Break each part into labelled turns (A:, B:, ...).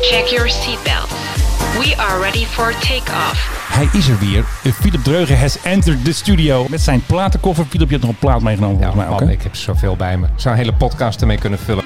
A: Check your seatbelt. We are ready for takeoff.
B: Hij is er weer. De Philip Dreugen has entered the studio met zijn platenkoffer. Philip, je hebt nog een plaat meegenomen
C: Ja,
B: volgens mij ook,
C: man,
B: hè?
C: ik heb zoveel bij me. Ik zou een hele podcast ermee kunnen vullen.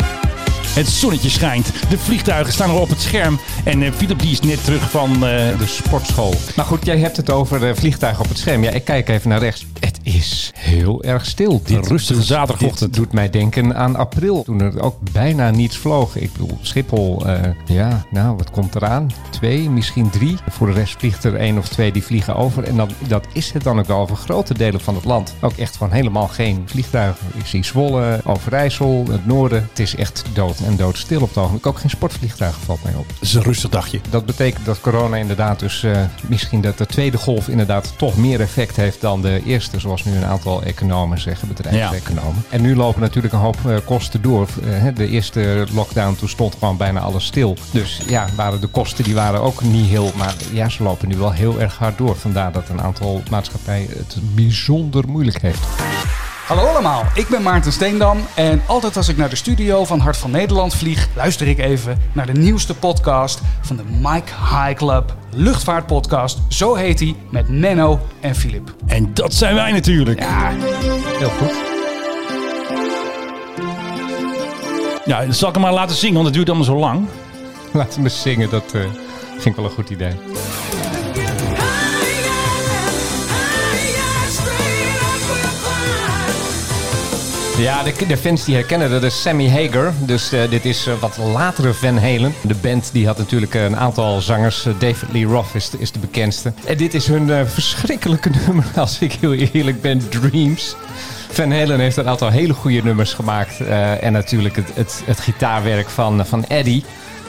B: Het zonnetje schijnt. De vliegtuigen staan al op het scherm. En eh Philip die is net terug van... eh,
C: De sportschool. Maar goed, jij hebt het over eh, vliegtuigen op het scherm. Ja, ik kijk even naar rechts. Het is heel erg stil. Dit,
B: Een rustige
C: doet-
B: zaterdagochtend.
C: Dit doet mij denken aan april, toen er ook bijna niets vloog. Ik bedoel, Schiphol, eh, ja, nou, wat komt eraan? Twee, misschien drie. Voor de rest vliegt er één of twee die vliegen over. En dan, dat is het dan ook wel voor grote delen van het land. Ook echt gewoon helemaal geen vliegtuigen. Ik zie Zwolle, Overijssel, het noorden. Het is echt dood en doodstil op het ogenblik. Ook geen sportvliegtuigen valt mij op.
B: Het is een rustig dagje.
C: Dat betekent dat corona inderdaad dus eh, misschien dat de tweede golf inderdaad toch meer effect heeft dan de eerste, zoals nu een aantal economen zeggen, bedrijfseconomen. En nu lopen natuurlijk een hoop eh, kosten door. Eh, hè, de eerste lockdown toen stond gewoon bijna alles stil. Dus ja, waren de kosten die waren ook niet heel, maar ja, ze lopen nu wel heel erg hard door. Vandaar dat een aantal maatschappijen het bijzonder moeilijk heeft.
D: Hallo allemaal, ik ben Maarten Steendam en altijd als ik naar de studio van Hart van Nederland vlieg, luister ik even naar de nieuwste podcast van de Mike High Club Luchtvaartpodcast. Zo heet hij met Menno en Filip.
B: En dat zijn wij natuurlijk. Ja,
C: Heel goed.
B: dan zal ik hem maar laten zingen, want het duurt allemaal zo lang.
C: Laten we zingen, dat eh, vind ik wel een goed idee. Ja, de, de fans die herkennen dat is Sammy Hager. Dus eh, dit is eh, wat latere Van Halen. De band die had natuurlijk eh, een aantal zangers. Eh, David Lee Roth is de, is de bekendste. En dit is hun eh, verschrikkelijke nummer, als ik heel eerlijk ben, Dreams. Van Halen heeft een aantal hele goede nummers gemaakt. Eh, en natuurlijk het, het, het gitaarwerk van, van Eddie.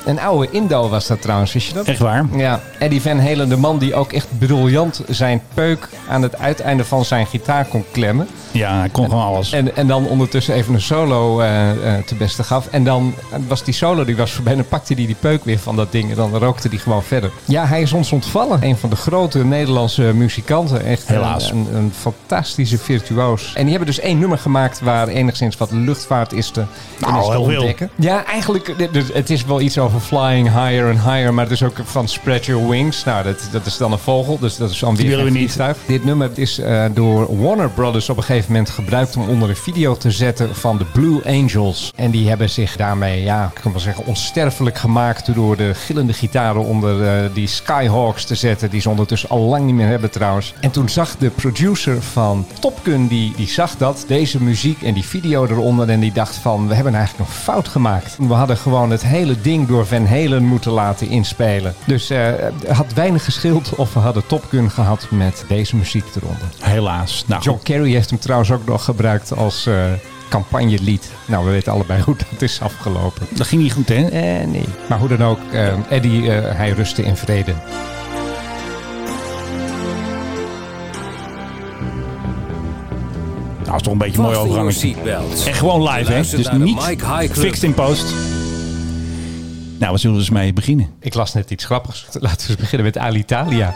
C: Een oude Indo was dat trouwens, wist je dat?
B: Echt waar.
C: Ja, Eddie Van Halen, de man die ook echt briljant zijn peuk aan het uiteinde van zijn gitaar kon klemmen.
B: Ja, hij kon gewoon alles.
C: En, en dan ondertussen even een solo eh, eh, te beste gaf. En dan was die solo die was voorbij. En dan pakte hij die peuk weer van dat ding. En dan rookte hij gewoon verder. Ja, hij is ons ontvallen. Een van de grote Nederlandse muzikanten. Echt een-
B: Helaas.
C: Een, een, fantastische virtuoos. En die hebben dus één nummer gemaakt waar enigszins wat luchtvaart is te, in
B: Nou,
C: is te
B: heel veel.
C: ontdekken. Ja, eigenlijk, dit- dit- het is wel iets over flying higher and higher. Maar het is ook van spread your wings. Nou, dat, dat is dan een vogel. Dus dat is dan weer
B: Die willen we
C: geen
B: niet.
C: vliegtuig. Dit nummer is eh, door Warner Brothers op een gegeven moment gebruikt om onder een video te zetten van de Blue Angels. En die hebben zich daarmee, ja, ik kan wel zeggen, onsterfelijk gemaakt door de gillende gitaren onder eh, die Skyhawks te zetten. Die ze ondertussen al lang niet meer hebben trouwens. En toen zag de producer van Top Gun, die, die zag dat, deze muziek en die video eronder. En die dacht van, we hebben eigenlijk een fout gemaakt. We hadden gewoon het hele ding door Van Halen moeten laten inspelen. Dus eh, het had weinig geschild of we hadden Top Gun gehad met deze muziek eronder.
B: Helaas. Nou,
C: John
B: goed.
C: Kerry heeft hem trouwens ook nog gebruikt als eh campagnelied. Nou, we weten allebei hoe dat is afgelopen.
B: dat ging niet goed, hè?
C: Eh, nee. Maar hoe dan ook, eh, Eddie, eh, hij rustte in vrede.
B: Nou, is toch een beetje een mooi overgang. En gewoon live, hè?
E: Luister
B: Dus
E: naar de
B: niet
E: Mike High Club.
B: fixed in post. Nou, we zullen dus mee beginnen.
C: Ik las net iets grappigs. Laten we eens beginnen met Alitalia.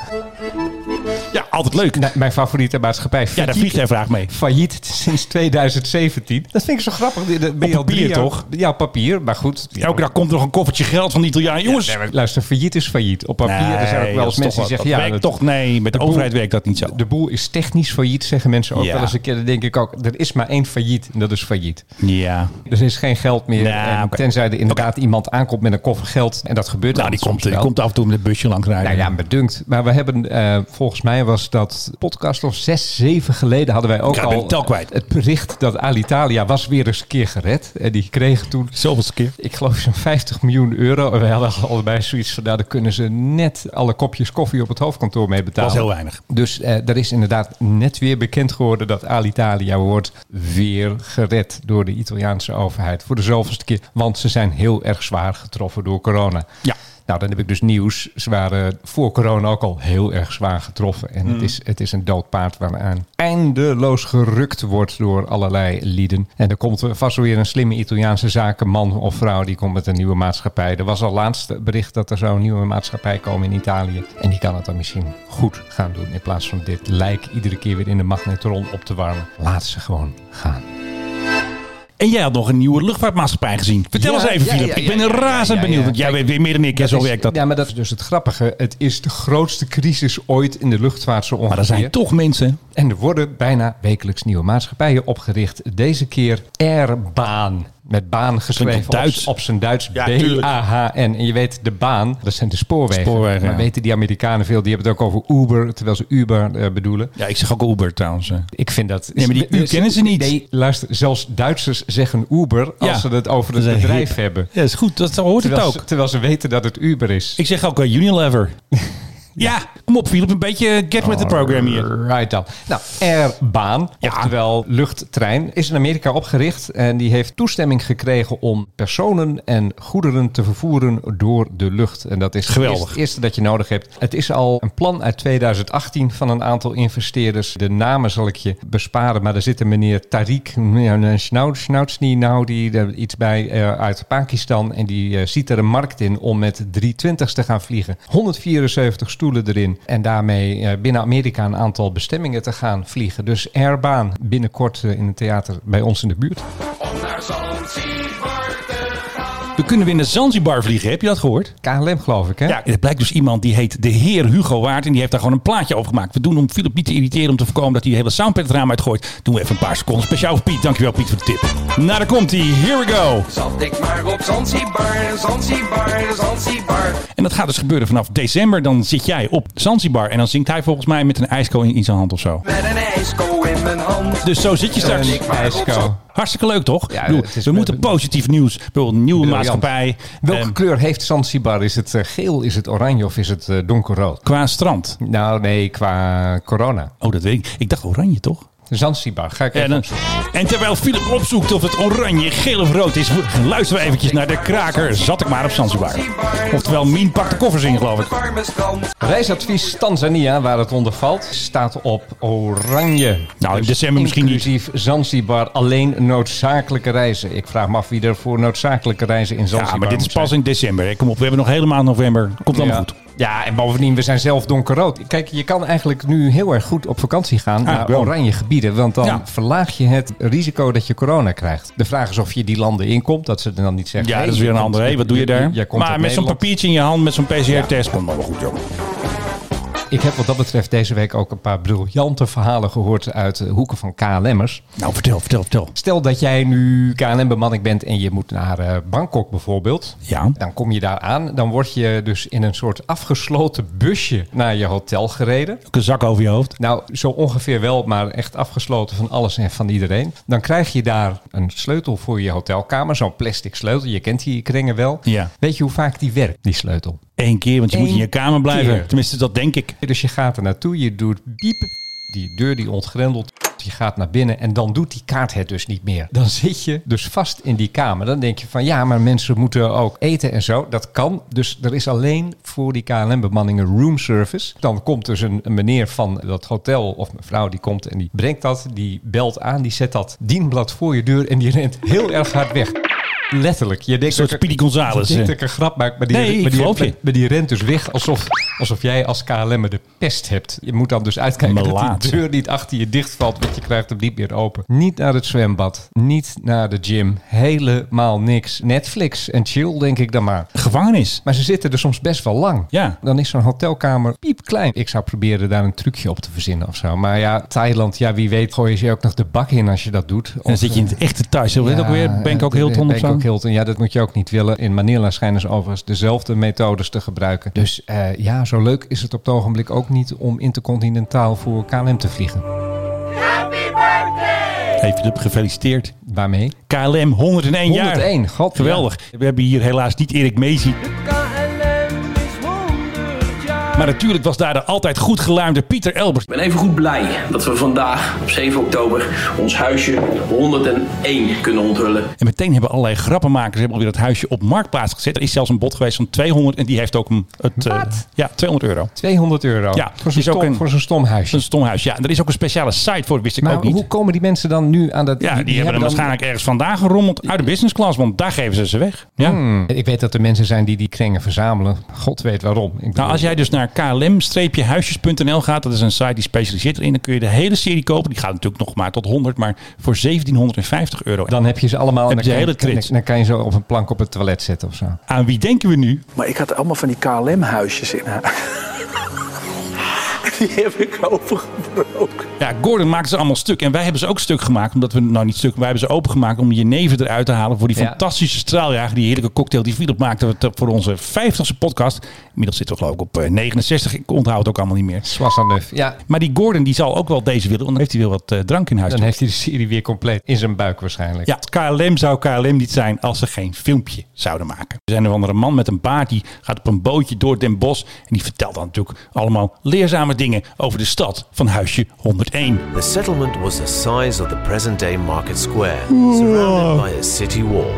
B: Ja, altijd leuk.
C: Nou, mijn favoriete maatschappij.
B: Ja, daar
C: Failliet-
B: vliegt hij vraag mee.
C: Failliet sinds 2017. Dat vind ik zo grappig. Dat ben je al
B: papier,
C: drie jaar-
B: toch?
C: Ja, op papier. Maar goed. Ja,
B: Elke dag komt er nog een koffertje geld van die Italiaan. Jongens,
C: nee, maar luister, failliet is failliet. Op papier
B: Nee,
C: er zijn ook wel
B: dat
C: eens
B: is
C: mensen
B: toch
C: die
B: wat-
C: zeggen...
B: dat
C: ja,
B: werkt
C: dat-
B: toch? Nee, met de,
C: boel-
B: overheid werkt dat niet zo.
C: De boel is technisch failliet, zeggen mensen ook
B: Ja.
C: wel eens een keer. Dan denk ik ook, er is maar één failliet en dat is failliet.
B: ja.
C: Er is geen geld meer.
B: Nou,
C: En
B: oké.
C: Tenzij er inderdaad iemand aankomt met een koffer geld. En dat gebeurt
B: Nou,
C: dan
B: die komt,
C: soms
B: die
C: wel.
B: komt af en toe met een busje langs rijden.
C: Nou ja, bedunkt. Maar we hebben, eh, volgens mij was dat podcast of zes, zeven geleden hadden wij ook
B: Ja, ik ben
C: al
B: het tel kwijt.
C: het bericht dat Alitalia was weer eens een keer gered. En die kregen toen,
B: Zoveelste keer.
C: ik geloof zo'n 50 miljoen euro. En wij hadden allebei zoiets van, nou, daar kunnen ze net alle kopjes koffie op het hoofdkantoor mee
B: Dat
C: betalen.
B: was heel weinig.
C: Dus eh, er is inderdaad net weer bekend geworden dat Alitalia wordt weer gered door de Italiaanse overheid. Voor de zoveelste keer. Want ze zijn heel erg zwaar getroffen door corona.
B: Ja.
C: Nou, dan heb ik dus nieuws. Ze waren voor corona ook al heel erg zwaar getroffen. En
B: Hmm.
C: het, is, het is een dood paard waaraan eindeloos gerukt wordt door allerlei lieden. En er komt vast wel weer een slimme Italiaanse zakenman of vrouw... die komt met een nieuwe maatschappij. Er was al laatst bericht dat er zo'n nieuwe maatschappij komen in Italië. En die kan het dan misschien goed gaan doen... in plaats van dit lijk iedere keer weer in de magnetron op te warmen. Laat ze gewoon gaan.
B: En jij had nog een nieuwe luchtvaartmaatschappij gezien. Vertel
C: Ja,
B: eens even,
C: ja,
B: Philip.
C: ja,
B: ik
C: ja,
B: ben
C: ja,
B: razend
C: ja, ja,
B: benieuwd.
C: ja.
B: Want jij weet weer meer dan ik. hè, zo
C: is-
B: werkt dat.
C: Ja, maar dat is dus het grappige. Het is de grootste crisis ooit in de luchtvaart zo ongeveer.
B: maar er zijn toch mensen.
C: En er worden bijna wekelijks nieuwe maatschappijen opgericht. Deze keer Airbaan. Met baan geschreven
B: Klinkt Duits.
C: Op, op zijn Duits.
B: Ja, tuurlijk.
C: B-A-H-N. En je weet, de baan, dat zijn de spoorwegen.
B: Spoorwegen,
C: maar
B: ja.
C: weten die Amerikanen veel, die hebben het ook over Uber, terwijl ze Uber eh, bedoelen.
B: Ja, ik zeg ook Uber trouwens. hè.
C: Ik vind dat... Dus
B: Nee, maar die U kennen ze niet.
C: Nee, luister, zelfs Duitsers zeggen Uber als
B: Ja.
C: ze het over
B: Dat
C: het
B: is een
C: bedrijf
B: hip.
C: hebben.
B: Ja, is goed. Dat hoort het
C: Terwijl
B: ook.
C: ze, terwijl ze weten dat het Uber is.
B: Ik zeg ook eh, Unilever. ja. kom op Philip. Een beetje get with the program hier.
C: Right dan. Nou, Airbaan,
B: Ja.
C: oftewel luchttrein, is in Amerika opgericht. En die heeft toestemming gekregen om personen en goederen te vervoeren door de lucht. En dat is
B: Geweldig.
C: Het eerste- eerste dat je nodig hebt. Het is al een plan uit 2018 van een aantal investeerders. De namen zal ik je besparen, maar er zit een meneer Tariq Snoutsni nou die er iets bij eh, uit Pakistan en die eh, ziet er een markt in om met 320's te gaan vliegen. 174 stoelen erin en daarmee eh, binnen Amerika een aantal bestemmingen te gaan vliegen. Dus Airbaan binnenkort eh, in het theater bij ons in de buurt.
B: We kunnen weer naar Zanzibar vliegen. Heb je dat gehoord?
C: KLM geloof ik hè?
B: Ja, er blijkt dus iemand die heet de heer Hugo Waard. En die heeft daar gewoon een plaatje over gemaakt. We doen om Philip niet te irriteren. Om te voorkomen dat hij de hele soundpad het raam uitgooit. Doen we even een paar seconden. Speciaal voor Piet. Dankjewel Piet voor de tip. Nou, daar komt hij. Here we go.
E: Zat ik maar op Zanzibar, Zanzibar, Zanzibar.
B: En dat gaat dus gebeuren vanaf december. Dan zit jij op Zanzibar. En dan zingt hij volgens mij met een ijsko in, in zijn hand of zo.
E: Met een ijsko in mijn hand.
B: Dus zo zit je straks.
C: Een ijskou.
B: Hartstikke leuk, toch?
C: Ja,
B: Ik bedoel,
C: het is-
B: we moeten positief nieuws. Bijvoorbeeld een nieuwe
C: Briljant.
B: maatschappij.
C: Welke
B: Ehm,
C: kleur heeft Zanzibar? Is het eh, geel, is het oranje of is het eh, donkerrood?
B: qua strand.
C: Nou, nee, qua corona.
B: Oh, dat weet ik. Ik dacht oranje, toch?
C: Zanzibar, ga ik
B: En,
C: even
B: dan-
C: opzoeken.
B: en terwijl Philip opzoekt of het oranje, geel of rood is, luisteren we eventjes naar de kraker. Zat ik maar op Zanzibar. Oftewel, Mien pakt de koffers in, geloof ik.
E: Warme strand.
C: Reisadvies Tanzania, waar het onder valt, staat op oranje. Dus
B: Nou, in december misschien niet.
C: Inclusief Zanzibar, alleen noodzakelijke reizen. Ik vraag me af wie er voor noodzakelijke reizen in Zanzibar
B: Ja, maar dit is
C: moet
B: pas
C: zijn.
B: in december. hè. Kom op, we hebben nog helemaal november. Komt allemaal
C: ja.
B: goed.
C: Ja, en bovendien, we zijn zelf donkerrood. Kijk, je kan eigenlijk nu heel erg goed op vakantie gaan naar
B: Ah, wel.
C: oranje gebieden. Want dan
B: Ja.
C: verlaag je het risico dat je corona krijgt. De vraag is of je die landen inkomt. Dat ze dan niet zeggen.
B: Ja,
C: hey,
B: dat is
C: je
B: weer een
C: komt-
B: andere. Hé, wat doe je daar?
C: Jij komt
B: Maar
C: uit
B: met zo'n
C: Nederland.
B: papiertje in je hand, met zo'n PCR-test, komt allemaal goed, joh.
C: Ik heb wat dat betreft deze week ook een paar briljante verhalen gehoord uit eh, hoeken van KLM'ers.
B: Nou, vertel, vertel, vertel.
C: Stel dat jij nu KLM-bemanning bent en je moet naar eh, Bangkok bijvoorbeeld.
B: Ja.
C: Dan kom je daar aan. Dan word je dus in een soort afgesloten busje naar je hotel gereden.
B: Ook een zak over je hoofd.
C: Nou, zo ongeveer wel, maar echt afgesloten van alles en van iedereen. Dan krijg je daar een sleutel voor je hotelkamer. Zo'n plastic sleutel. Je kent die kringen wel.
B: Ja.
C: Weet je hoe vaak die werkt, die sleutel?
B: Eén keer, want je moet in
C: Eén
B: je kamer blijven.
C: keer.
B: Tenminste, dat denk ik.
C: Dus je gaat er naartoe, je doet piep, die deur die ontgrendelt. Je gaat naar binnen en dan doet die kaart het dus niet meer. Dan zit je dus vast in die kamer. Dan denk je van ja, maar mensen moeten ook eten en zo. Dat kan. Dus er is alleen voor die KLM-bemanningen roomservice. Dan komt dus een, een meneer van dat hotel of mevrouw die komt en die brengt dat. Die belt aan, die zet dat dienblad voor je deur en die rent heel erg hard weg. Letterlijk. Je denkt
B: Een soort
C: dat-
B: Speedy Gonzales,
C: Je denkt
B: eh.
C: dat ik een grap maak, maar die,
B: Nee, ik
C: maar die,
B: geloof je.
C: maar die rent dus weg alsof, alsof jij als KLM'er de pest hebt. Je moet dan dus uitkijken dat
B: Melaatse.
C: die deur niet achter je dichtvalt, want je krijgt hem niet meer open. Niet naar het zwembad, niet naar de gym, helemaal niks. Netflix en chill denk ik dan maar.
B: Gevangenis.
C: Maar ze zitten er soms best wel lang.
B: Ja.
C: Dan is zo'n hotelkamer piepklein. Ik zou proberen daar een trucje op te verzinnen of zo. Maar ja, Thailand, ja wie weet gooi je ze ook nog de bak in als je dat doet.
B: Dan
C: Of,
B: zit je in het echte thuis. Hoe heet dat ook weer? Bangkok
C: eh,
B: Hilton of zo?
C: Bangkok Hilton, ja, dat moet je ook niet willen. In Manila schijnen ze overigens dezelfde methodes te gebruiken. Dus eh, ja, zo leuk is het op het ogenblik ook niet om intercontinentaal voor KLM te vliegen.
B: Hey Philip, gefeliciteerd.
C: Waarmee?
B: KLM 101, jaar.
C: 101, god,
B: Geweldig. We hebben hier helaas niet Erik Mezi. Maar natuurlijk was daar de altijd goed geluimde Pieter Elbers.
F: Ik ben even goed blij dat we vandaag op 7 oktober ons huisje 101 kunnen onthullen.
B: En meteen hebben allerlei grappenmakers hebben alweer dat huisje op marktplaats gezet. Er is zelfs een bod geweest van 200 en die heeft ook een, het, eh, ja, 200 euro.
C: 200 euro.
B: Ja,
C: voor zo'n
B: is ook
C: stom,
B: een-
C: voor zo'n stom huisje.
B: Een stom huis. Ja, en er is ook een speciale site voor, wist ik
C: Maar
B: ook niet.
C: hoe komen die mensen dan nu aan dat...
B: Ja, die, hebben hem
C: dan-
B: waarschijnlijk ergens vandaan gerommeld uit de business class, want daar geven ze ze weg. Ja.
C: Mm. Hmm. Ik weet dat er mensen zijn die die kringen verzamelen. God weet waarom. Ik bedoel-
B: Nou, als jij dus naar naar klm-huisjes.nl gaat. Dat is een site die specialiseert erin. Dan kun je de hele serie kopen. Die gaat natuurlijk nog maar tot 100, maar voor 1750 euro.
C: Dan heb je ze allemaal en
B: Heb
C: dan,
B: je
C: kan
B: hele trits.
C: dan, dan kan je ze op een plank op het toilet zetten of zo.
B: Aan wie denken we nu?
G: Maar ik had allemaal van die KLM-huisjes in haar. Die heb ik opengebroken.
B: Ja, Gordon maakt ze allemaal stuk. En wij hebben ze ook stuk gemaakt. Omdat we, nou niet stuk, wij hebben ze opengemaakt om je neven eruit te halen. Voor die
C: Ja.
B: fantastische straaljager. Die heerlijke cocktail die Philip maakte ter- voor onze 50ste podcast. Inmiddels zitten we geloof ik op eh, 69. Ik onthoud het ook allemaal niet meer.
C: Swassanuf. Ja,
B: Maar die Gordon die zal ook wel deze willen. Want dan heeft hij weer wat eh, drank in huis.
C: dan heeft hij de serie weer compleet in zijn buik waarschijnlijk.
B: Ja, KLM zou KLM niet zijn als ze geen filmpje zouden maken. Er zijn een of andere man met een baard die gaat op een bootje door Den Bosch. En die vertelt dan natuurlijk allemaal leerzame dingen over de stad van huisje 101.
H: The settlement was the size of the present day market square, surrounded by a city wall,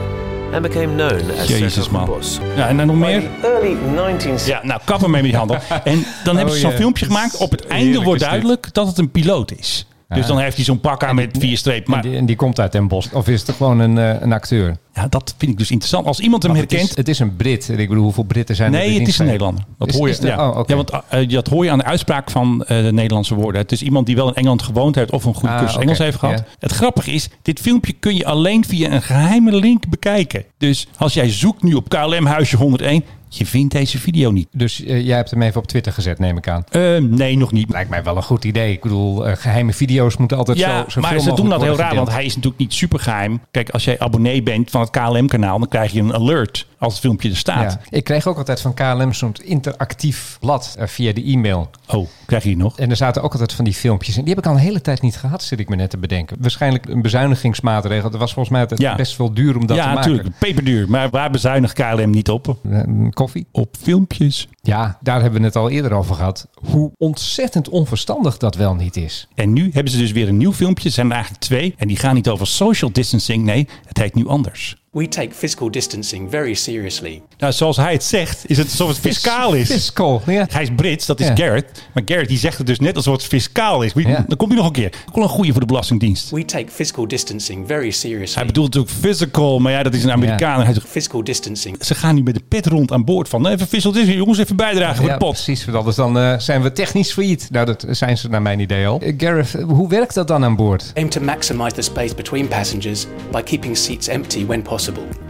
H: and became known as
B: Jezus
H: Settlement
B: man.
H: Bos.
B: Ja, en dan nog meer?
H: Early 19th
B: Ja, nou kappen mee met die handel. En dan hebben ze zo'n
C: Oh, ja.
B: filmpje gemaakt. Op het einde
C: Heerlijke
B: wordt
C: stuk.
B: duidelijk dat het een piloot is. Dus dan heeft hij zo'n pak aan met vier strepen.
C: En,
B: Maar
C: die, en die komt uit Den Bosch. Of is het gewoon een, eh, een acteur?
B: ja, dat vind ik dus interessant. Als iemand hem
C: Want het,
B: herkent,
C: is, het is een Brit. En ik bedoel, hoeveel Britten zijn er?
B: Nee,
C: die
B: het is
C: dienst
B: een
C: zijn?
B: Nederlander. Dat
C: Is-
B: hoor je.
C: is de-
B: ja.
C: oh, oké.
B: ja, want eh, dat hoor je aan de uitspraak van eh, de Nederlandse woorden. Het is iemand die wel in Engeland gewoond heeft of een goede
C: Ah,
B: cursus
C: oké,
B: Engels heeft gehad.
C: ja.
B: Het grappige is, dit filmpje kun je alleen via een geheime link bekijken. Dus als jij zoekt nu op KLM Huisje 101, je vindt deze video niet.
C: Dus eh, jij hebt hem even op Twitter gezet, neem ik aan.
B: Eh, nee, nog niet.
C: Lijkt mij wel een goed idee. Ik bedoel, eh, geheime video's moeten altijd
B: Ja,
C: zo, zo
B: maar
C: veel
B: ze doen
C: mogelijk
B: dat heel
C: worden
B: raar, want
C: gedeeld.
B: hij is natuurlijk niet super geheim. Kijk, als jij abonnee bent van het KLM-kanaal, dan krijg je een alert als het filmpje er staat.
C: Ja. Ik kreeg ook altijd van KLM zo'n interactief blad eh, via de e-mail.
B: Oh, krijg je die nog?
C: En er zaten ook altijd van die filmpjes. En die heb ik al een hele tijd niet gehad, zit ik me net te bedenken. Waarschijnlijk een bezuinigingsmaatregel. Dat was volgens mij altijd
B: Ja.
C: best wel duur om dat te
B: ja,
C: maken.
B: natuurlijk. Peperduur. Maar waar bezuinigt KLM niet op?
C: Eh, Koffie?
B: Op filmpjes.
C: Ja, daar hebben we het al eerder over gehad. Hoe ontzettend onverstandig dat wel niet is.
B: En nu hebben ze dus weer een nieuw filmpje. Er zijn er eigenlijk twee. En die gaan niet over social distancing. Nee, het heet nu anders.
I: We take physical distancing very seriously.
B: Nou, zoals hij het zegt, is het alsof het fiscaal is.
C: Fiscal, ja.
B: Hij is Brits, dat is
C: Ja.
B: Garrett. Maar Garrett die zegt het dus net alsof het fiscaal is. Wie-
C: Ja.
B: Dan komt hij nog een keer. Ook wel een goeie voor de Belastingdienst.
I: We take physical distancing very seriously.
B: Hij bedoelt natuurlijk physical, maar ja, dat is een Amerikaan. En Hij zegt,
I: physical distancing.
B: ze gaan nu met de pet rond aan boord van. nou, Even fiscal distancing, jongens, even bijdragen voor
C: Ja,
B: de pot.
C: precies. Want anders dan eh, zijn we technisch failliet. Nou, dat zijn ze naar mijn idee al. Eh, Gareth, hoe werkt dat dan aan boord?
I: Aim to maximize the space between passengers by keeping seats empty when possible.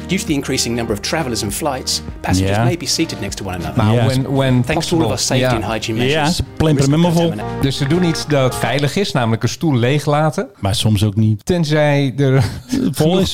I: Due to the increasing number of travelers and flights, passengers
B: Yeah.
I: may be seated next to one another.
C: Nou,
B: Ja.
C: when, when
I: Thanks to all
C: possible.
I: of our safety
C: Ja.
I: and hygiene
B: Ja,
I: measures.
B: ze plemperen
I: risk
B: hem
I: of
B: maar vol.
I: contamination-
C: Dus ze doen iets dat veilig is, namelijk een stoel leeglaten.
B: Maar soms ook niet.
C: Tenzij er vol
B: is.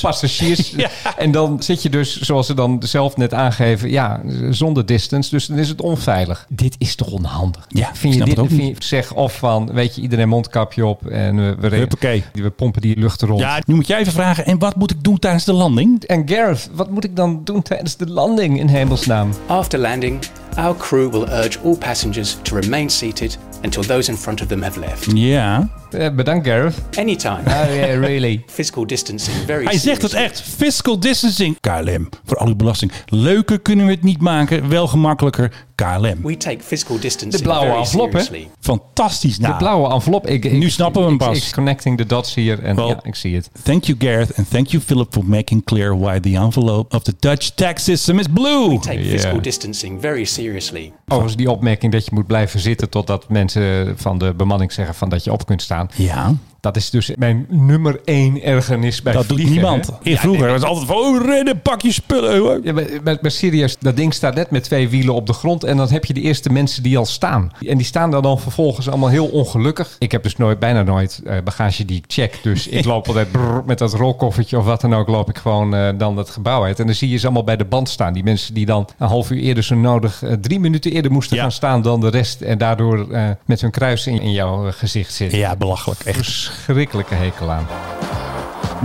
C: passagiers.
B: Ja.
C: En dan zit je dus, zoals ze dan zelf net aangeven, ja, zonder distance. Dus dan is het onveilig. Dit is toch onhandig?
B: Ja, ik
C: vind je
B: snap
C: dit
B: het ook
C: vind
B: niet.
C: je- Zeg of van, weet je, iedereen mondkapje op en we, we, re-
B: Huppakee.
C: we pompen die lucht rond.
B: Ja, nu moet jij even vragen. En wat moet ik doen tijdens de landing?
C: En Gareth, wat moet ik dan doen tijdens de landing in hemelsnaam?
I: After landing, our crew will urge all passengers to remain seated until those in front of them have left.
B: Ja.
C: Eh, bedankt, Gareth.
I: Anytime.
C: Oh, yeah, really.
I: Physical distancing very
B: Hij zegt het
I: seriously.
B: echt. Fiscal distancing. KLM. Voor al uw belasting. Leuker kunnen we het niet maken. Wel gemakkelijker. KLM.
I: We take physical distancing
C: blauwe
I: very
C: envelop, hè?
I: seriously.
B: Fantastisch. Nou,
C: de blauwe envelop. Ik, ik-
B: Nu snappen we hem
C: ik-
B: pas.
C: Ik connecting the dots hier en
B: Wel-
C: ja, ik zie het.
B: Thank you Gareth and thank you Philip for making clear why the envelope of the Dutch tax system is blue.
I: Take physical distancing very seriously.
C: Overigens die opmerking dat je moet blijven zitten totdat mensen van de bemanning zeggen van dat je op kunt staan.
B: Ja,
C: Dat is dus mijn nummer één ergernis bij
B: dat doet
C: vliegen,
B: niemand.
C: hè?
B: Ik vroeger was altijd van, oh rennen, pak je spullen. hoor.
C: Ja, maar, maar, maar serieus, dat ding staat net met twee wielen op de grond. En dan heb je de eerste mensen die al staan. En die staan daar dan vervolgens allemaal heel ongelukkig. Ik heb dus nooit, bijna nooit eh, bagage die ik check. Dus ik loop altijd brrr, met dat rolkoffertje of wat dan ook. Loop ik gewoon eh, dan het gebouw uit. En dan zie je ze allemaal bij de band staan. Die mensen die dan een half uur eerder zo nodig, eh, drie minuten eerder moesten
B: Ja.
C: gaan staan dan de rest. En daardoor eh, met hun kruis in, in jouw eh, gezicht zitten.
B: Ja, belachelijk. Echt.
C: Verschrikkelijke hekel aan.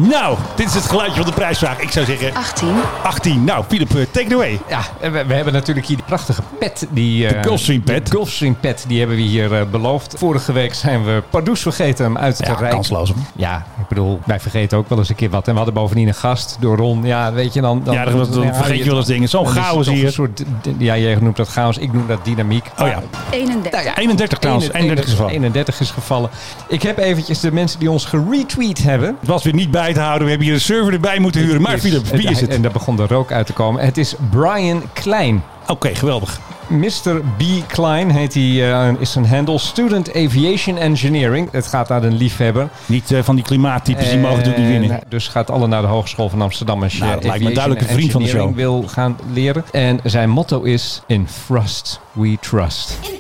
B: Nou, dit is het geluidje van de prijsvraag. Ik zou zeggen
A: 18.
B: 18. Nou, Philip, eh, take it away.
C: Ja, en we, we hebben natuurlijk hier die prachtige pet. Die, eh,
B: De Gulfstream pet.
C: De Gulfstream pet, die hebben we hier eh, beloofd. Vorige week zijn we Pardoes vergeten hem uit te
B: Ja,
C: reiken.
B: kansloos. hoor.
C: Ja, ik bedoel, wij vergeten ook wel eens een keer wat. En we hadden bovendien een gast door Ron. Ja, weet je dan... dan
B: Ja, dat,
C: dan-
B: dat vergeet je wel eens dingen. Zo'n
C: dan is het
B: chaos
C: toch
B: hier.
C: een soort, d- ja, jij noemt dat chaos. Ik noem dat dynamiek. Nou
B: Oh ja,
A: 31.
B: 31 trouwens. 31 is gevallen.
C: 31 is gevallen. Ik heb eventjes de mensen die ons geretweet hebben.
B: Het was weer niet bij te houden. We hebben hier een server erbij moeten huren. Maar
C: Is-
B: Philip, wie is het?
C: En daar begon de rook uit te komen. Het is Brian Klein.
B: Oké, geweldig.
C: Mr. B. Klein heet hij, eh, is zijn handle. Student Aviation Engineering. Het gaat naar een liefhebber.
B: Niet eh, van die klimaattypes, die mogen natuurlijk niet winnen.
C: En Dus gaat alle naar de Hogeschool van Amsterdam. Als je
B: Nou, dat lijkt me
C: aviation
B: duidelijk een
C: en
B: vriend van de show.
C: engineering wil gaan leren. En zijn motto is, in thrust we trust.
J: In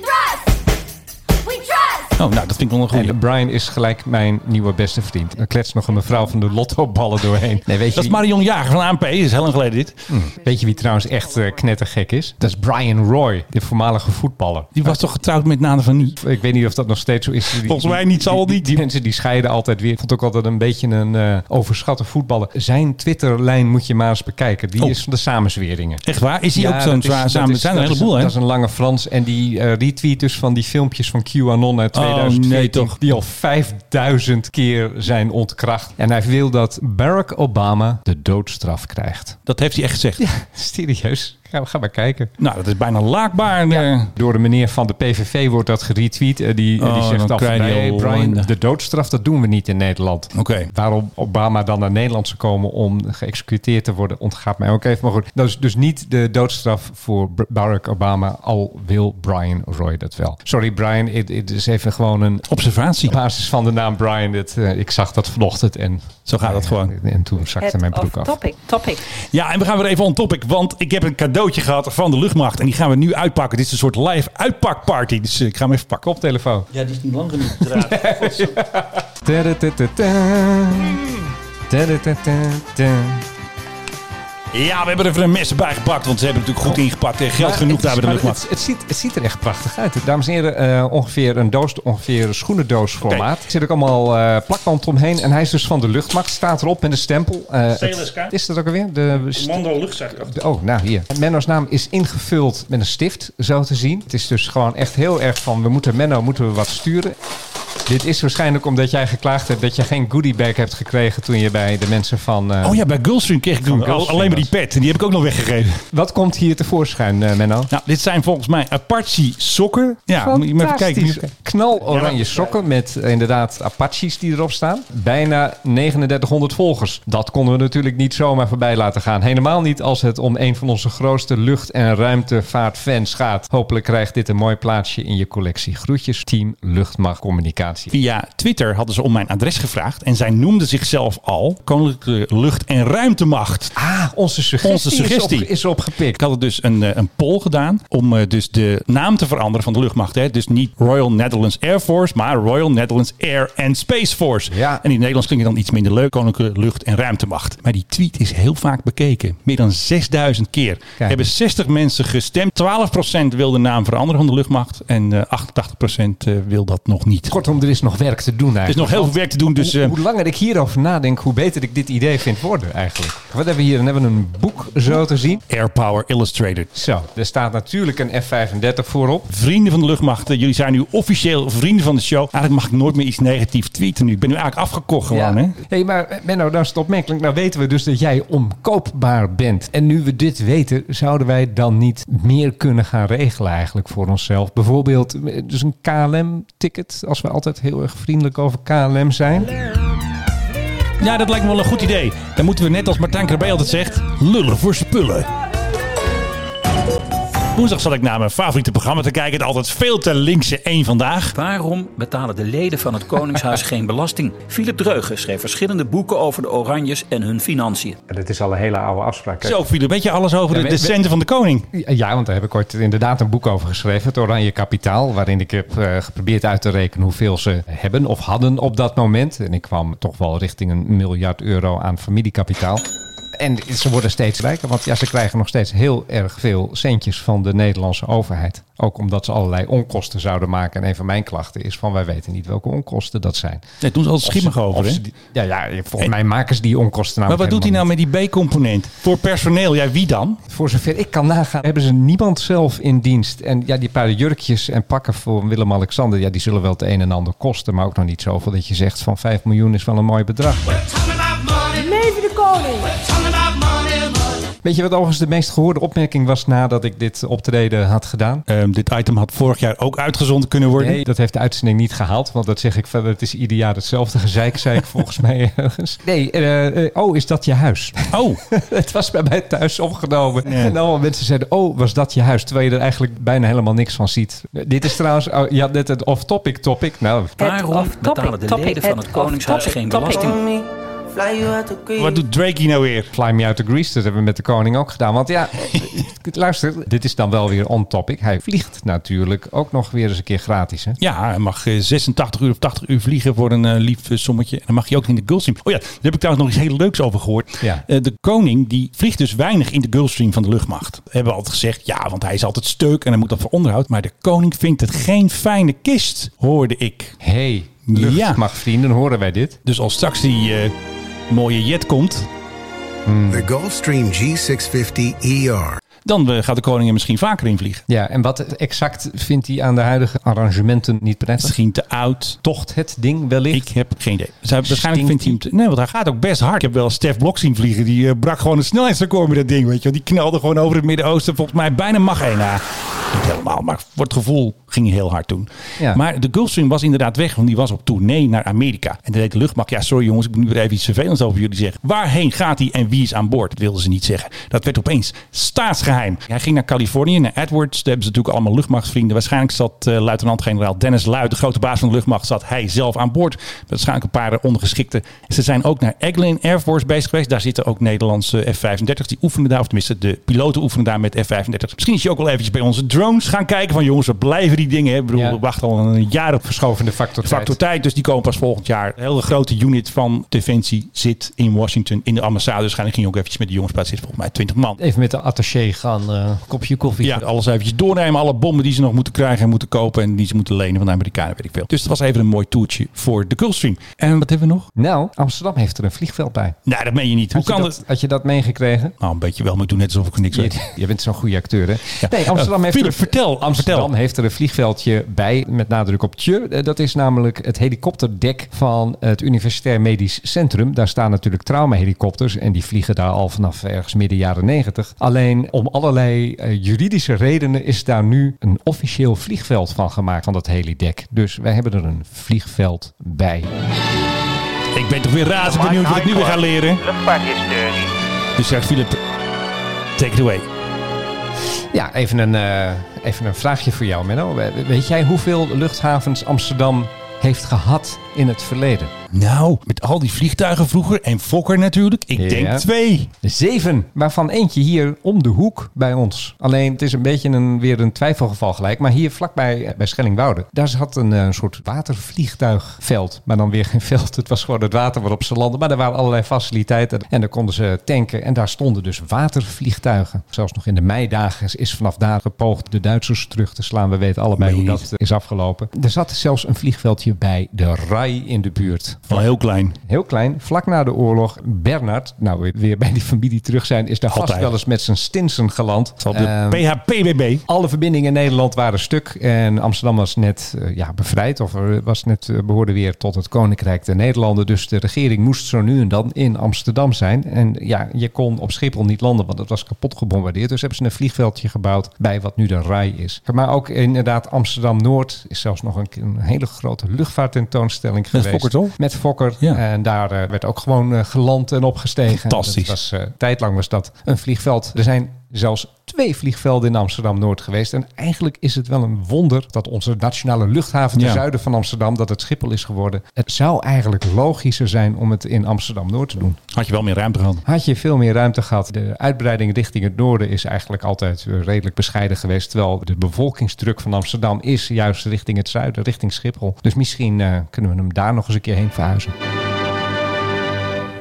J: thrust, we trust.
B: Oh, nou, dat vind ik wel een goede.
C: En Brian is gelijk mijn nieuwe beste vriend. Er kletst nog een mevrouw van de lottoballen doorheen. Nee, weet, je
B: Dat is
C: wie,
B: Marion Jager van ANP, dat is heel lang geleden dit.
C: weet je wie trouwens echt eh, knettergek is? Dat is Brian Roy, de voormalige voetballer.
B: Die was toch getrouwd met Nana van Nu?
C: Ik weet niet of dat nog steeds zo is. Die-
B: Volgens mij niet, zal
C: die-
B: wel
C: die-
B: niet.
C: Die, mensen die scheiden altijd weer. Ik vond ook altijd een beetje een eh, overschatte voetballer. Zijn Twitterlijn moet je maar eens bekijken. Die
B: Oh.
C: is van de samenzweringen.
B: Echt waar? Is die ook
C: dat
B: zo'n
C: is-
B: zwaar
C: dat
B: samen?
C: is-
B: Er zijn er
C: dat
B: een
C: is
B: heleboel, hè?
C: Dat is een lange Frans. En die eh, retweet dus van die filmpjes van QAnon uit
B: Oh,
C: 2014.
B: nee, toch.
C: Die al 5000 keer zijn ontkracht. En hij wil dat Barack Obama de doodstraf krijgt.
B: Dat heeft hij echt gezegd.
C: Serieus. Ga, ga maar kijken.
B: Nou, dat is bijna laakbaar. eh.
C: Door de meneer van de PVV wordt dat geretweet. Eh, die,
B: Oh,
C: die
B: dan
C: zegt af,
B: krijg je
C: nee
B: al
C: Brian,
B: ellende.
C: de doodstraf dat doen we niet in Nederland.
B: Oké.
C: Waarom Obama dan naar Nederland zou komen om geëxecuteerd te worden, ontgaat mij ook even. Maar goed, dat is dus niet de doodstraf voor Br- Barack Obama, al wil Brian Roy dat wel. Sorry Brian, het het is even gewoon een...
B: Observatie.
C: Op basis van de naam Brian, het, eh, ik zag dat vanochtend en...
B: Zo gaat dat gewoon.
C: En toen zakte mijn broek af.
K: topic. Topic.
B: Ja, en we gaan weer even on topic, want ik heb een cadeautje gehad van de luchtmacht. En die gaan we nu uitpakken. Dit is een soort live uitpakparty. Dus eh, ik ga hem even pakken.
C: Koptelefoon.
B: Ja, die is niet lang genoeg. draad.
C: Tadadadada. Tadadadada.
B: Ja, we hebben er even een mes bij gepakt, want ze hebben natuurlijk goed ingepakt. En geld
C: Maar
B: genoeg
C: het is-
B: daar bij de
C: maar
B: luchtmacht.
C: Het, het, ziet, het ziet er echt prachtig uit. Dames en heren, eh, ongeveer een doos, ongeveer een schoenendoos formaat. Er zit ook allemaal eh plakband omheen. En hij is dus van de luchtmacht. Staat erop met een stempel. Eh,
B: CLSK.
C: het- is dat ook alweer? De,
B: Mando luchtzak.
C: de- oh, nou hier. Menno's naam is ingevuld met een stift, zo te zien. Het is dus gewoon echt heel erg van, we moeten Menno, moeten we wat sturen. Dit is waarschijnlijk omdat jij geklaagd hebt dat je geen goodiebag hebt gekregen toen je bij de mensen van... eh,
B: Oh ja, bij Gulfstream kreeg ik toen
C: Van
B: al-
C: Gulfstream
B: alleen maar die
C: was.
B: pet. En die heb ik ook nog weggegeven.
C: Wat komt hier tevoorschijn, eh, Menno?
B: Nou, dit zijn volgens mij Apache sokken. Ja, moet je maar even kijken.
C: Fantastisch.
B: Ja,
C: Knaloranje
B: maar-
C: sokken met eh, inderdaad Apaches die erop staan. Bijna 3900 volgers. Dat konden we natuurlijk niet zomaar voorbij laten gaan. Helemaal niet als het om een van onze grootste lucht- en ruimtevaartfans gaat. Hopelijk krijgt dit een mooi plaatsje in je collectie. Groetjes, team Luchtmacht Communicatie.
B: Via Twitter hadden ze om mijn adres gevraagd. En zij noemden zichzelf al Koninklijke Lucht- en Ruimtemacht.
C: Ah, onze suggestie,
B: Onze suggestie.
C: Is, op, is opgepikt.
B: Ik had er dus een, eh, een poll gedaan om eh, dus de naam te veranderen van de luchtmacht. Hè? Dus niet Royal Netherlands Air Force, maar Royal Netherlands Air and Space Force.
C: Ja.
B: En in het Nederlands klinkt het dan iets minder leuk. Koninklijke Lucht- en Ruimtemacht. Maar die tweet is heel vaak bekeken. Meer dan 6000 keer. Er hebben 60 mensen gestemd. 12% wil de naam veranderen van de luchtmacht. En eh, 88% eh, wil dat nog niet.
C: Kortom, er is nog werk te doen eigenlijk.
B: Er is nog heel veel werk te doen. Dus
C: hoe,
B: eh,
C: hoe langer ik hierover nadenk, hoe beter ik dit idee vind worden eigenlijk. Wat hebben we hier? Dan hebben we een boek zo te zien.
B: Air Power Illustrated.
C: Zo, er staat natuurlijk een F-35 voorop.
B: Vrienden van de luchtmacht, eh, jullie zijn nu officieel vrienden van de show. Eigenlijk mag ik nooit meer iets negatiefs tweeten nu. Ik ben nu eigenlijk afgekocht gewoon. Hè?
C: Hey, maar eh, Menno, nou is het opmerkelijk. Nou weten we dus dat jij omkoopbaar bent. En nu we dit weten, zouden wij dan niet meer kunnen gaan regelen eigenlijk voor onszelf? Bijvoorbeeld eh, dus een KLM-ticket, als we altijd heel erg vriendelijk over KLM zijn.
B: Ja, dat lijkt me wel een goed idee. Dan moeten we net als Martijn Krabbe altijd zegt, lullen voor spullen. Woensdag zat ik naar mijn favoriete programma te kijken. Het altijd veel te linkse één vandaag.
L: Waarom betalen de leden van het Koningshuis geen belasting? Philip Dreugen schreef verschillende boeken over de Oranjes en hun financiën.
C: Dat is al een hele oude afspraak.
B: Zo viel een beetje alles over
C: Ja,
B: de
C: we- we-
B: decenten van de koning.
C: Ja, want daar heb ik ooit inderdaad een boek over geschreven. Het Oranje Kapitaal. Waarin ik heb eh, geprobeerd uit te rekenen hoeveel ze hebben of hadden op dat moment. En ik kwam toch wel richting een miljard euro aan familiekapitaal. En ze worden steeds rijker, want ja, ze krijgen nog steeds heel erg veel centjes van de Nederlandse overheid. Ook omdat ze allerlei onkosten zouden maken. En een van mijn klachten is van wij weten niet welke onkosten dat zijn.
B: Nee, toen ze altijd schimmig over.
C: Of
B: Hè?
C: ze die- ja, ja, volgens mij maken ze die onkosten
B: Maar wat
C: namelijk
B: doet hij nou
C: helemaal
B: met die B-component? Voor personeel, ja wie dan?
C: voor zover ik kan nagaan, hebben ze niemand zelf in dienst. En ja, die paar jurkjes en pakken voor Willem-Alexander, ja, die zullen wel het een en ander kosten, maar ook nog niet zoveel dat je zegt van 5 miljoen is wel een mooi bedrag.
J: Leven de koning.
C: Weet je wat overigens de meest gehoorde opmerking was nadat ik dit optreden had gedaan?
B: Um, dit item had vorig jaar ook uitgezonden kunnen worden.
C: Nee, dat heeft de uitzending niet gehaald. Want dat zeg ik verder. Het is ieder jaar hetzelfde gezeik, zei ik volgens mij ergens. Nee, uh, uh, oh, is dat je huis?
B: Oh.
C: het was bij mij thuis opgenomen. Ja. En allemaal mensen zeiden, oh, was dat je huis? Terwijl je er eigenlijk bijna helemaal niks van ziet. Dit is trouwens, oh, je had net het off-topic topic. Nou,
L: Waarom betalen de leden het van het Koningshuis geen belasting?
B: Wat doet Drake hier nou weer?
C: Fly Me Out to Greece, dat hebben we met de koning ook gedaan. Want ja, luister, dit is dan wel weer on-topic. Hij vliegt natuurlijk ook nog weer eens een keer gratis. Hè?
B: Ja, hij mag 86 uur of 80 uur vliegen voor een uh, lief sommetje. En dan mag je ook in de Gulfstream. Oh ja, daar heb ik trouwens nog iets heel leuks over gehoord. Ja. Uh, de koning die vliegt dus weinig in de Gulfstream van de luchtmacht. We hebben altijd gezegd, ja, want hij is altijd stuk en hij moet dat voor onderhoud. Maar de koning vindt het geen fijne kist, hoorde ik.
C: hey, luchtmachtvrienden, ja. horen wij dit?
B: Dus al straks die... Uh, mooie jet komt.
K: Hmm. De Gulfstream G650 ER.
B: Dan eh, gaat de koning er misschien vaker in vliegen.
C: Ja, en wat exact vindt hij aan de huidige arrangementen niet prettig?
B: Misschien te oud.
C: Tocht het ding wellicht?
B: Ik heb geen idee. Zij, waarschijnlijk vindt hij hem te, Nee, want hij gaat ook best hard. Ik heb wel Stef Blok zien vliegen. Die uh, brak gewoon een snelheidsrecord met dat ding, weet je wel. Die knalde gewoon over het Midden-Oosten. Volgens mij bijna mag één na. Niet helemaal, maar voor het gevoel ging hij heel hard toen. Ja. Maar de Gulfstream was inderdaad weg, want die was op tournee naar Amerika. En dan deed de luchtmacht, ja sorry jongens, ik moet nu weer even iets vervelends over jullie zeggen. Waarheen gaat hij en wie is aan boord? Dat wilden ze niet zeggen. Dat werd opeens staatsgeheim. Hij ging naar Californië, naar Edwards. Daar hebben ze natuurlijk allemaal luchtmachtvrienden. Waarschijnlijk zat uh, luitenant-generaal Dennis Luid, de grote baas van de luchtmacht, zat hij zelf aan boord. Waarschijnlijk een paar ondergeschikten. Ze zijn ook naar Eglin Air Force bezig geweest. Daar zitten ook Nederlandse F-35's. Die oefenen daar, of tenminste de piloten oefenen daar met F-35's. Misschien is je ook wel eventjes bij onze drones gaan kijken van jongens, we blijven die dingen. Hè? Ik bedoel, ja. we wachten al een jaar op
C: verschovende factor tijd.
B: factor tijd. Dus die komen pas volgend jaar. Een hele grote unit van Defensie zit in Washington in de ambassade. Dus gaan ging ook eventjes met de jongens praten. Zit volgens mij 20 man.
C: Even met de attaché gaan uh, kopje koffie.
B: Ja, alles eventjes doornemen. Alle bommen die ze nog moeten krijgen en moeten kopen en die ze moeten lenen van de Amerikanen, weet ik veel. Dus het was even een mooi toertje voor de Gulfstream. En wat hebben we nog?
C: Nou, Amsterdam heeft er een vliegveld bij.
B: Nou, dat meen je niet.
C: Had
B: Hoe
C: je
B: kan
C: dat, Had je dat meegekregen?
B: Nou, een beetje wel, maar ik doe net alsof ik niks
C: je,
B: weet.
C: Je bent zo'n goede acteur, hè? Ja. Nee, Amsterdam uh, heeft...
B: Philip, vertel,
C: Amsterdam
B: vertel.
C: heeft er een vliegveldje bij, met nadruk op tje. Dat is namelijk het helikopterdek van het Universitair Medisch Centrum. Daar staan natuurlijk traumahelikopters en die vliegen daar al vanaf ergens midden jaren negentig. Alleen om allerlei eh, juridische redenen is daar nu een officieel vliegveld van gemaakt, van dat helidek. Dus wij hebben er een vliegveld bij.
B: Ik ben toch weer razend benieuwd wat ik nu weer ga leren. Dus zegt Philip, take it away.
C: Ja, even een, uh, even een vraagje voor jou, Menno. Weet jij hoeveel luchthavens Amsterdam heeft gehad in het verleden?
B: Nou, met al die vliegtuigen vroeger en Fokker natuurlijk. Ik ja. denk twee.
C: Zeven, waarvan eentje hier om de hoek bij ons. Alleen het is een beetje een, weer een twijfelgeval gelijk. Maar hier vlakbij eh, bij Schellingwoude, daar zat een, eh, een soort watervliegtuigveld. Maar dan weer geen veld, het was gewoon het water waarop ze landen. Maar daar waren allerlei faciliteiten en daar konden ze tanken. En daar stonden dus watervliegtuigen. Zelfs nog in de meidagen is vanaf daar gepoogd de Duitsers terug te slaan. We weten allebei nee. hoe dat is afgelopen. Er zat zelfs een vliegveldje bij de Rai in de buurt.
B: Wel heel klein.
C: Heel klein. Vlak na de oorlog. Bernard, nou weer bij die familie terug zijn, is daar Altijd. vast wel eens met zijn stinsen geland. Ehm,
B: Op de uh, PHPBB.
C: Alle verbindingen in Nederland waren stuk. En Amsterdam was net uh, ja, bevrijd. Of was net, uh, behoorde weer tot het Koninkrijk der Nederlanden. Dus de regering moest zo nu en dan in Amsterdam zijn. En ja, je kon op Schiphol niet landen, want het was kapot gebombardeerd. Dus hebben ze een vliegveldje gebouwd bij wat nu de RAI is. Maar ook inderdaad Amsterdam-Noord is zelfs nog een, een hele grote luchtvaarttentoonstelling geweest.
B: Fokker,
C: met Fokker. Ja. En daar uh, werd ook gewoon uh, geland en opgestegen.
B: Fantastisch.
C: Dat was, uh, tijdlang was dat een vliegveld. Er zijn zelfs twee vliegvelden in Amsterdam-Noord geweest. En eigenlijk is het wel een wonder dat onze nationale luchthaven ten ja. zuiden van Amsterdam, dat het Schiphol is geworden. Het zou eigenlijk logischer zijn om het in Amsterdam-Noord te doen.
B: Had je wel meer ruimte gehad?
C: Had je veel meer ruimte gehad. De uitbreiding richting het noorden is eigenlijk altijd eh, redelijk bescheiden geweest. Terwijl de bevolkingsdruk van Amsterdam is juist richting het zuiden, richting Schiphol. Dus misschien uh, kunnen we hem daar nog eens een keer heen verhuizen.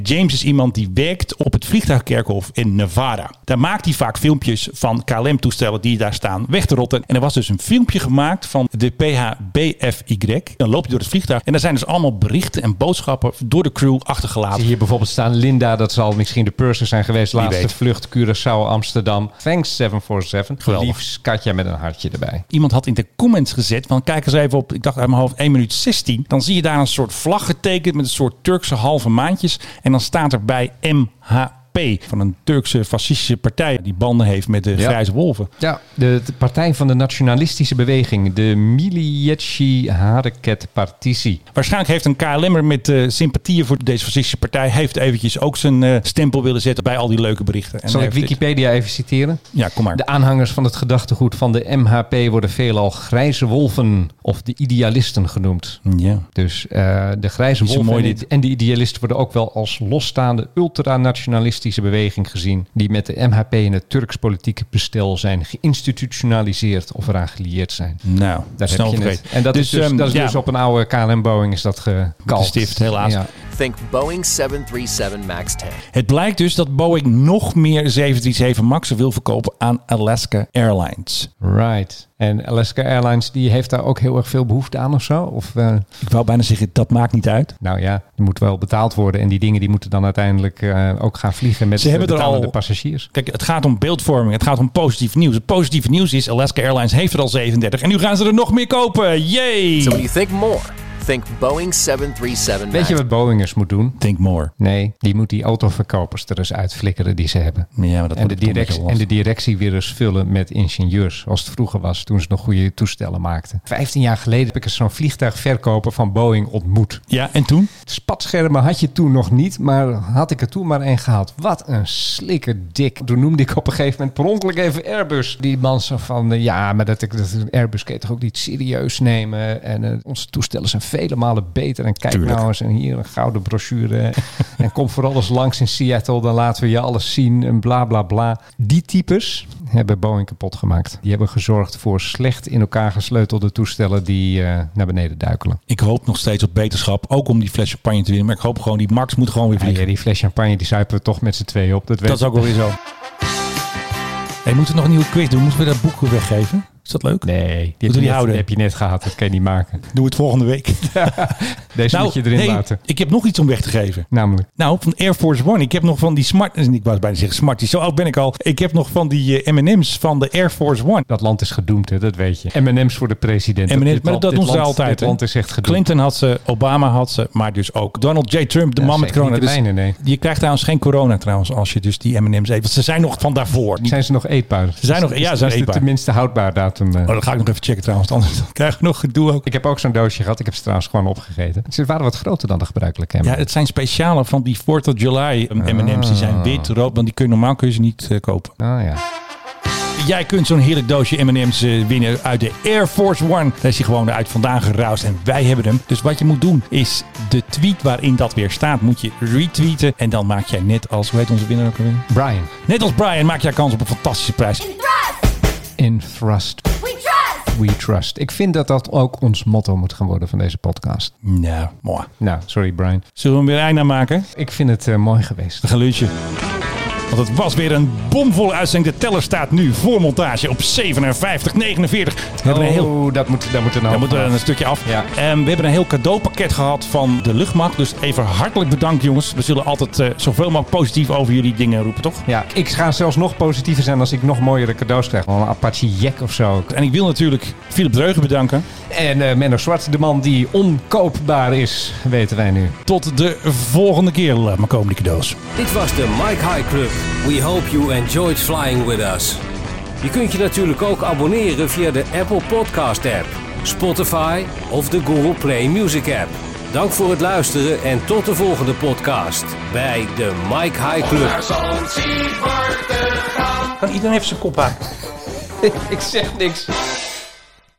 B: James is iemand die werkt op het vliegtuigkerkhof in Nevada. Daar maakt hij vaak filmpjes van KLM-toestellen die daar staan weg te rotten. En er was dus een filmpje gemaakt van de PHBFY. Dan loop je door het vliegtuig en daar zijn dus allemaal berichten en boodschappen door de crew achtergelaten.
C: Hier bijvoorbeeld staan Linda, dat zal misschien de purser zijn geweest. Laatste weet. vlucht Curaçao, Amsterdam. Thanks 747. Geweldig. Liefst Katja met een hartje erbij.
B: Iemand had in de comments gezet, van kijk eens even op, ik dacht uit mijn hoofd 1 minuut 16. Dan zie je daar een soort vlag getekend met een soort Turkse halve maandjes. En dan staat er bij MH AKP van een Turkse fascistische partij die banden heeft met de
C: Ja.
B: grijze wolven.
C: Ja, de, de partij van de nationalistische beweging, de Milliyetçi Hareket Partisi.
B: Waarschijnlijk heeft een KLM'er met eh, sympathieën voor deze fascistische partij... heeft eventjes ook zijn eh, stempel willen zetten bij al die leuke berichten. En
C: Zal ik
B: heeft dit-
C: Wikipedia even citeren?
B: Ja, kom maar.
C: De aanhangers van het gedachtegoed van de MHP worden veelal grijze wolven of de idealisten genoemd.
B: Ja.
C: Dus eh, de grijze
B: Niet zo
C: wolven
B: mooi
C: en,
B: dit.
C: de, en de idealisten worden ook wel als losstaande ultranationalistische beweging gezien. Die met de MHP en het Turks politieke bestel zijn geïnstitutionaliseerd of eraan gelieerd zijn.
B: Nou,
C: Daar
B: snel
C: heb je het.
B: vergeten.
C: En dat
B: Dus,
C: is, dus,
B: ehm,
C: dat is
B: ja.
C: dus op een oude KLM Boeing is dat gekalkt.
B: stift, helaas.
C: Ja.
M: Think Boeing 737 MAX 10.
B: Het blijkt dus dat Boeing nog meer 737 Max'en wil verkopen aan Alaska Airlines.
C: Right. En Alaska Airlines die heeft daar ook heel erg veel behoefte aan of zo? Of, eh,
B: Ik wou bijna zeggen, dat maakt niet uit.
C: Nou ja, die moet wel betaald worden. En die dingen die moeten dan uiteindelijk eh, ook gaan vliegen met
B: Ze hebben er
C: betalende
B: al-
C: passagiers.
B: Kijk, het gaat om beeldvorming. Het gaat om positief nieuws. Het positieve nieuws is, Alaska Airlines heeft er al 37. En nu gaan ze er nog meer kopen. Yay!
M: So when you think more, think Boeing 737
C: Weet
M: MAX.
C: je wat Boeingers moet doen?
B: Think more.
C: Nee, die moet die autoverkopers er eens uitflikkeren die ze hebben.
B: Ja, maar dat wordt
C: en, de
B: toch een beetje
C: directie, en de
B: lastig.
C: directie weer eens vullen met ingenieurs. Zoals het vroeger was, toen ze nog goede toestellen maakten. Vijftien jaar geleden heb ik eens zo'n vliegtuigverkoper van Boeing ontmoet.
B: Ja, en toen?
C: Spatschermen had je toen nog niet, maar had ik er toen maar één gehad. Wat een slikker dik. Toen noemde ik op een gegeven moment per ongeluk even Airbus. Die man zo van, eh, ja, maar dat, ik- dat Airbus kan je toch ook niet serieus nemen. En eh, onze toestellen zijn vele malen beter. En kijk
B: Tuurlijk.
C: nou eens, en hier een gouden brochure. en kom voor alles langs in Seattle, dan laten we je alles zien. En bla, bla, bla. Die types hebben Boeing kapot gemaakt. Die hebben gezorgd voor slecht in elkaar gesleutelde toestellen die eh, naar beneden duikelen.
B: Ik hoop nog steeds op beterschap. Ook om die fles champagne te winnen. Maar ik hoop gewoon, die Max moet gewoon weer vliegen.
C: Ja, die fles champagne die zuipen we toch met z'n tweeën op. Dat,
B: Dat is ook wel weer zo. Hey, moeten we nog een nieuwe quiz doen? Moeten we dat boek weggeven? Is dat leuk?
C: Nee, die, heb
B: Moeten
C: je,
B: we die
C: net,
B: houden?
C: die heb je net gehad. Dat kan je niet maken.
B: Doe het volgende week.
C: Deze
B: Nou,
C: moet je erin
B: nee,
C: laten.
B: Ik heb nog iets om weg te geven.
C: Namelijk.
B: Nou, van Air Force One. Ik heb nog van die smart... Ik wou bijna zeggen smarties. Zo oud ben ik al. Ik heb nog van die eh, M&M's van de Air Force One.
C: Dat land is gedoemd, hè, dat weet je. M&M's voor de president.
B: M&M's,
C: dit
B: maar
C: land-
B: dat
C: dit
B: doen ze
C: land-
B: altijd.
C: Dit
B: hè?
C: land is echt gedoemd.
B: Clinton had ze, Obama had ze, maar dus ook Donald J. Trump, de
C: Ja,
B: man met
C: zeker
B: corona.
C: niet de
B: Dus
C: mijne, nee.
B: Je krijgt trouwens geen corona trouwens als je dus die M&M's eet. Want ze zijn nog van daarvoor. Niet-
C: Zijn ze nog eetbaar?
B: Ze zijn nog- ja, ze
C: Is-
B: zijn
C: is
B: eetbaar.
C: Is tenminste houdbaar datum? eh?
B: Oh, dat ga ik nog even checken trouwens. want Anders dan krijg ik nog gedoe ook.
C: Ik heb ook zo'n doosje gehad. Ik heb ze trouwens gewoon opgegeten. Ze waren wat groter dan de gebruikelijke M&M's.
B: Ja, het zijn speciale van die 4th of July um, M&M's. Die zijn wit, rood, want die kun je normaal kun je ze niet eh, kopen.
C: Ah ja.
B: Jij kunt zo'n heerlijk doosje M&M's eh, winnen uit de Air Force One. Daar is hij gewoon uit vandaan geruist en wij hebben hem. Dus wat je moet doen is de tweet waarin dat weer staat, moet je retweeten. En dan maak jij net als, hoe heet onze winnaar ook alweer?
C: Brian.
B: Net als Brian maak jij kans op een fantastische prijs.
C: In thrust.
J: We trust!
C: We trust. Ik vind dat dat ook ons motto moet gaan worden van deze podcast.
B: Nou, mooi.
C: Nou, sorry Brian.
B: Zullen we hem weer einde maken?
C: Ik vind het eh, mooi geweest.
B: Een geluidje. Want het was weer een bomvolle uitzending. De teller staat nu voor montage op 57, 49. We hebben een heel
C: Oh, dat moet, dat moet er nou
B: Daar moeten we
C: vanaf.
B: een stukje af.
C: Ja.
B: En we hebben een heel cadeaupakket gehad van de luchtmacht. Dus even hartelijk bedankt, jongens. We zullen altijd eh, zoveel mogelijk positief over jullie dingen roepen, toch?
C: Ja, ik ga zelfs nog positiever zijn als ik nog mooiere cadeaus krijg. Wel Een Apache Jack of zo.
B: En ik wil natuurlijk Philip Dreugen bedanken.
C: En eh, Menno Zwart, de man die onkoopbaar is, weten wij nu.
B: Tot de volgende keer. Laat maar komen, die cadeaus.
N: Dit was de Mike High Club. We hope you enjoyed flying with us. Je kunt je natuurlijk ook abonneren via de Apple Podcast app, Spotify of de Google Play Music app. Dank voor het luisteren en tot de volgende podcast bij de Mike High Club.
B: Kan iedereen even zijn kop aan?
C: ik zeg niks.